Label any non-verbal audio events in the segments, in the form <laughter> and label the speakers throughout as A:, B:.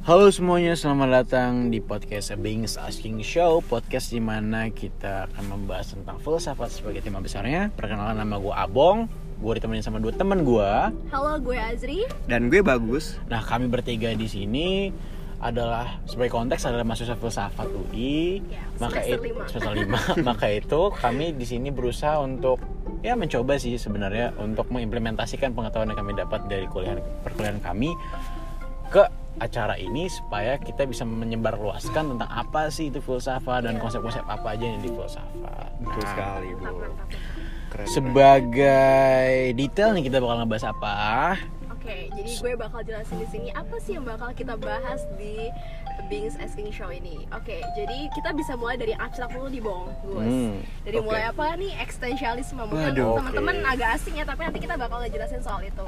A: Halo semuanya, selamat datang di podcast Beings Asking Show Podcast di mana kita akan membahas tentang filsafat sebagai tema besarnya Perkenalkan nama gue Abong Gue ditemenin sama dua temen gue
B: Halo, gue Azri.
C: dan gue bagus
A: Nah kami bertiga di sini adalah sebagai konteks adalah mahasiswa filsafat UI
B: Ya,
A: maka
B: semester
A: itu
B: lima.
A: semester lima. <laughs> maka itu kami di sini berusaha untuk ya mencoba sih sebenarnya untuk mengimplementasikan pengetahuan yang kami dapat dari kuliah perkuliahan kami ke acara ini supaya kita bisa menyebarluaskan tentang apa sih itu filsafat
B: Iya.
A: dan konsep-konsep apa aja yang di filsafat.
C: betul
A: Nah,
C: sekali bu keren
A: Sebagai detail nih kita bakal ngebahas apa?
B: Oke, jadi gue bakal jelasin di sini apa sih yang bakal kita bahas di Bings Asking Show ini. Oke, jadi kita bisa mulai dari abstrak dulu di bawah, Gus.
A: Hmm,
B: Dari
C: oke.
B: mulai apa nih eksistensialisme mungkin
C: Waduh,
B: teman-teman
A: oke.
B: agak asing ya, tapi nanti kita bakal jelasin soal itu.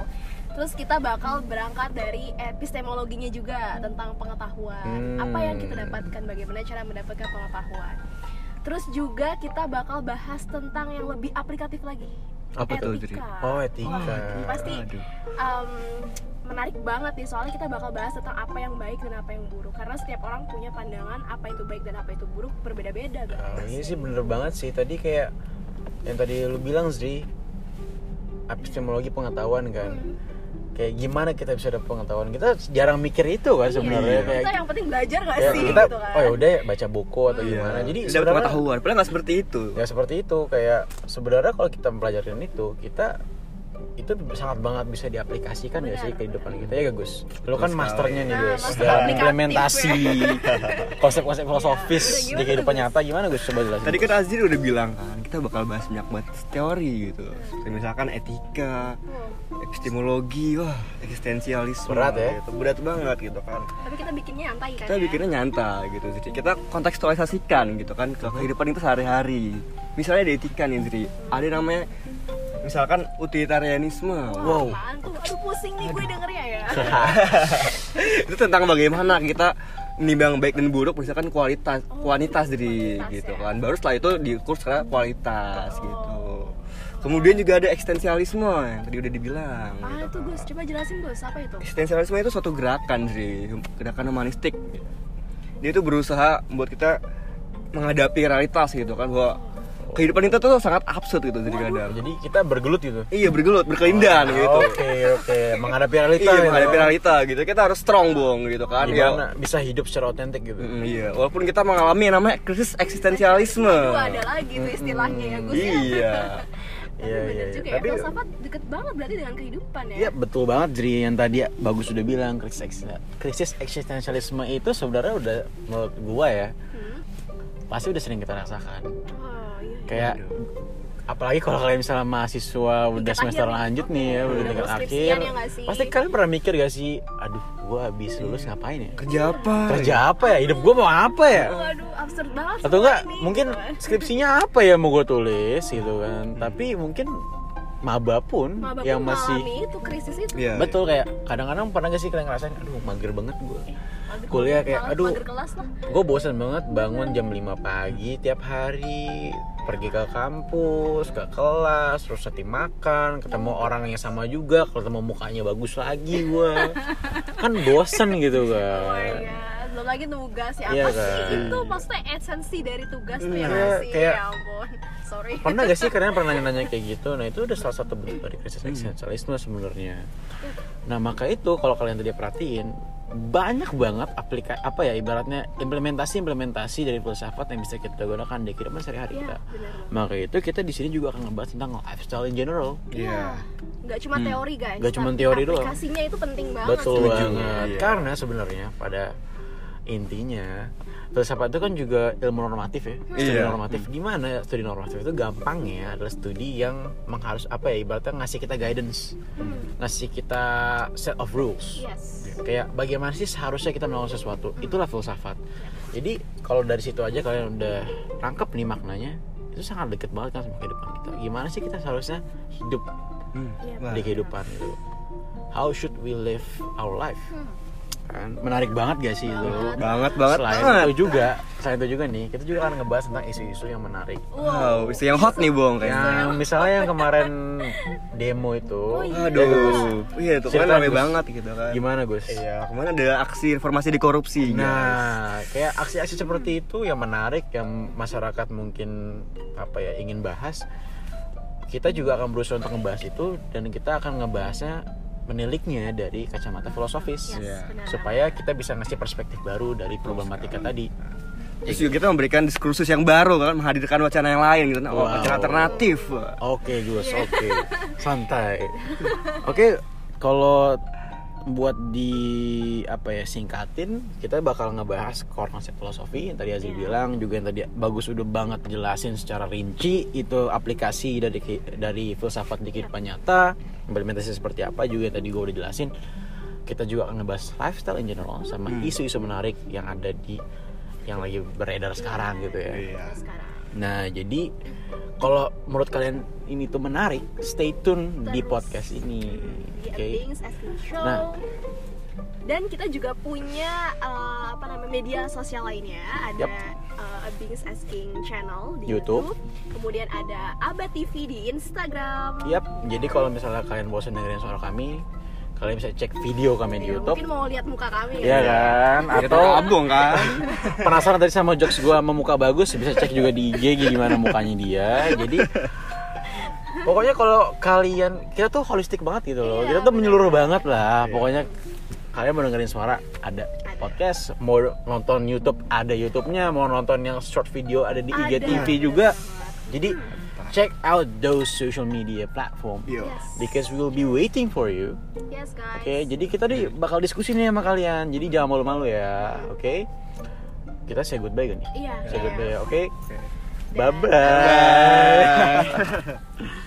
B: Terus kita bakal berangkat dari epistemologinya juga tentang pengetahuan.
A: Hmm.
B: Apa yang kita dapatkan, bagaimana cara mendapatkan pengetahuan. Terus juga kita bakal bahas tentang yang lebih aplikatif lagi.
C: Apa tuh, Dri?
B: etika.
A: Oh, etika.
B: Ah. Wah, pasti um, menarik banget nih soalnya kita bakal bahas tentang apa yang baik dan apa yang buruk karena setiap orang punya pandangan apa itu baik dan apa itu buruk berbeda-beda
A: Nah,
B: guys.
A: ini sih bener banget sih tadi kayak yang tadi lu bilang Zri epistemologi pengetahuan kan
B: Hmm.
A: kayak gimana kita bisa dapat pengetahuan kita jarang mikir itu kan sebenarnya
C: Iya.
A: kayak
B: kita yang penting belajar gak
A: ya,
B: sih
A: kita
B: gitu kan.
A: oh ya udah ya, baca buku
C: Iya.
A: atau gimana jadi
C: jadi dapat
A: sebenarnya
C: pengetahuan padahal nggak seperti itu
A: ya seperti itu kayak sebenarnya kalau kita mempelajari itu kita itu sangat banget bisa diaplikasikan ya
B: Benar,
A: sih
B: benar.
A: kehidupan kita ya gak Gus lu kan
C: Betul sekali.
A: masternya nih
B: Nah,
A: Gus
B: master
A: dalam
B: aplikatif <laughs> Iya.
A: implementasi konsep-konsep filosofis
B: Udah, gimana
A: di
B: tuh,
A: kehidupan
B: Gus?
A: nyata gimana Gus coba jelasin
C: tadi
A: Gus.
C: kan Azir udah bilang kan kita bakal bahas banyak banget teori gitu Kayak misalkan etika
B: Wow.
C: epistemologi wah eksistensialisme
A: Berat ya?
C: gitu. berat banget gitu kan
B: tapi kita bikinnya nyantai kan
C: kita
B: ya?
C: bikinnya nyantai gitu jadi kita kontekstualisasikan gitu kan ke kehidupan kita sehari-hari misalnya ada etika nih Zri ada yang namanya misalkan utilitarianisme
B: Wah,
C: Wah,
B: apaan tuh? Aduh pusing nih gue dengernya
A: <laughs>
B: ya.
C: kan itu tentang bagaimana kita menimbang baik dan buruk misalkan kualitas kuantitas dari
B: kuantitas
C: gitu
B: ya.
C: kan baru setelah itu diukur secara kualitas gitu kemudian juga ada eksistensialisme yang tadi udah dibilang
B: Apaan
C: gitu
B: tuh Ah, Gus? Coba jelasin Gus, apa itu?
C: eksistensialisme itu suatu gerakan sih gerakan humanistik dia itu berusaha membuat kita menghadapi realitas gitu kan bahwa kehidupan kita tuh sangat absurd gitu jadi kadang
A: jadi kita bergelut gitu
C: iya bergelut berkelindahan gitu
A: Oke oke Iya, menghadapi realita. iya.
C: iya
A: gitu.
C: menghadapi realita gitu kita harus strong bong gitu kan ya.
A: Gimana bisa hidup secara otentik gitu.
C: Mm, iya, walaupun kita mengalami yang namanya krisis eksistensialisme.
A: Eh,
B: Aduh ada lagi tuh istilahnya ya Gus ya.
C: Iya.
B: Tapi
A: Iya,
B: bener
A: iya, iya.
B: juga
A: Tapi-
B: ya, filsafat deket banget berarti dengan kehidupan ya.
A: Iya betul banget Jri yang tadi bagus sudah bilang krisis, eks- krisis eksistensialisme itu sebenarnya udah menurut gua ya
B: Hmm.
A: pasti udah sering kita rasakan.
B: Oh, iya, iya.
A: Kayak apalagi kalau kalian misalnya mahasiswa udah
B: akhir
A: semester
B: nih.
A: lanjut nih ya udah
B: Udah
A: dekat
B: mau
A: akhir
B: skripsian ya nggak sih? Hmm.
A: pasti kalian pernah mikir gak sih aduh gua habis lulus ngapain ya
C: Kerja apa?
A: kerja apa ya hidup gua mau apa ya
B: Waduh, absurd banget.
A: atau
B: semua
A: enggak
B: ini,
A: mungkin
B: gitu kan.
A: skripsinya apa ya mau gue tulis gitu kan tapi mungkin maba pun
B: Maba
A: yang
B: pun
A: masih
B: mengalami itu krisis itu.
C: Iya.
A: betul kayak kadang-kadang pernah gak sih kalian ngerasain aduh mager banget gue
B: Iya, Mager
A: Kuliah
B: banget,
A: kayak,
B: malas
A: aduh. Iya.
B: mager kelas lah.
A: gue bosen banget bangun jam 5 pagi tiap hari pergi ke kampus ke kelas terus nanti makan ketemu orang yang sama juga ketemu mukanya bagus lagi gue
B: <laughs>
A: kan bosen gitu
B: Oh my
A: kan
B: God. Belum lagi tugas ya.
A: Iya
B: Apa sih
A: kan?
B: itu maksudnya esensi dari tugas tuh ya
A: Iya,
B: masih
A: kayak-
B: ya ampun. Sorry.
A: pernah gak sih kalian pernah nanya kayak gitu nah itu udah salah satu bentuk dari krisis eksistensialisme sebenarnya nah maka itu kalau kalian tadi perhatiin banyak banget aplikasi apa ya ibaratnya implementasi implementasi dari filsafat yang bisa kita gunakan di kehidupan sehari-hari
B: Iya,
A: kita
B: benar.
A: maka itu kita di sini juga akan ngebahas tentang lifestyle in general
C: Iya.
B: Gak cuma
A: Hmm.
B: teori guys.
A: Nggak cuma
B: tapi
A: teori doang.
B: Aplikasinya itu penting banget.
A: Betul
C: setuju.
A: banget.
C: Iya.
A: Karena sebenarnya pada intinya filsafat itu kan juga ilmu normatif ya. Studi
C: Iya.
A: normatif gimana? Studi normatif itu gampangnya adalah studi yang mengharus apa ya ibaratnya ngasih kita guidance,
C: Hmm.
A: ngasih kita set of rules.
B: Yes.
A: Kayak bagaimana sih seharusnya kita melakukan sesuatu? Itulah filsafat. Jadi kalau dari situ aja kalian udah tangkap nih maknanya, itu sangat deket banget kan sama kehidupan kita. Gimana sih kita seharusnya hidup
C: Hmm.
B: Iya.
C: Wah.
A: di kehidupan itu? How should we live our life? kan menarik banget gak sih itu
C: Banget banget
A: selain
C: banget.
A: itu juga selain itu juga nih kita juga akan ngebahas tentang isu-isu yang menarik
C: Wow, isu yang hot nih bong kayaknya.
A: yang misalnya yang kemarin demo itu
B: iya.
C: Aduh, iya tuh kan
A: Silakan,
C: rame
A: Gus.
C: banget gitu kan.
A: gimana Gus?
C: Iya, kemarin ada aksi informasi di korupsi. guys.
A: Nah, kayak aksi-aksi seperti itu yang menarik yang masyarakat mungkin apa ya ingin bahas. Kita juga akan berusaha untuk ngebahas itu dan kita akan ngebahasnya meniliknya dari kacamata filosofis.
B: Yes, benar.
A: Supaya kita bisa ngasih perspektif baru dari problematika tadi. iya.
C: Terus juga kita memberikan diskursus yang baru kan menghadirkan wacana yang lain gitu, nah,
A: Wow.
C: wacana alternatif.
A: Oke, Gus. Oke. Santai. Oke, kalau buat di apa ya singkatin kita bakal ngebahas core konsep filosofi yang tadi Azri bilang juga yang tadi bagus udah banget jelasin secara rinci itu aplikasi dari ki- dari filsafat di kehidupan nyata implementasi seperti apa juga yang tadi gue udah jelasin kita juga akan ngebahas lifestyle in general sama isu-isu menarik yang ada di yang lagi beredar sekarang gitu ya
C: Iya.
B: sekarang
A: Nah, jadi kalau menurut kalian ini tuh menarik, stay tune di
B: Terus.
A: podcast ini.
B: di
A: Oke.
B: Endings Asking Show.
A: Nah.
B: Dan kita juga punya eh, apa namanya media sosial lainnya, ada
A: Yap.
B: eh, A Bings Asking channel di
A: YouTube.
B: YouTube. Kemudian ada Aba TV di Instagram.
A: Yap, jadi kalau misalnya kalian bosan dengerin suara kami, kalian bisa cek video kami di
B: Ya,
A: YouTube.
B: Mungkin mau lihat muka kami ya.
A: Iya kan? Atau
C: Atau abong
B: <laughs>
C: kan.
A: penasaran tadi sama jokes gua sama muka bagus, bisa cek juga di IG gimana mukanya dia. Jadi Pokoknya kalau kalian kita tuh holistik banget gitu loh.
B: Iya,
A: kita tuh menyeluruh banget lah. Pokoknya kalian mau dengerin suara ada
B: Ada.
A: podcast, mau nonton YouTube ada YouTube-nya, mau nonton yang short video ada di
B: Ada,
A: IGTV
B: bener
A: juga. Jadi check out those social media platform
C: Yo.
B: Yes.
A: because we will be waiting for you.
B: Yes, guys.
A: Oke, jadi kita di bakal diskusi nih sama kalian. Jadi jangan malu-malu ya, oke? Kita say goodbye gak nih?
B: Iya.
A: Say
B: iya.
A: goodbye, ya, oke?
C: Oke.
A: Bye-bye.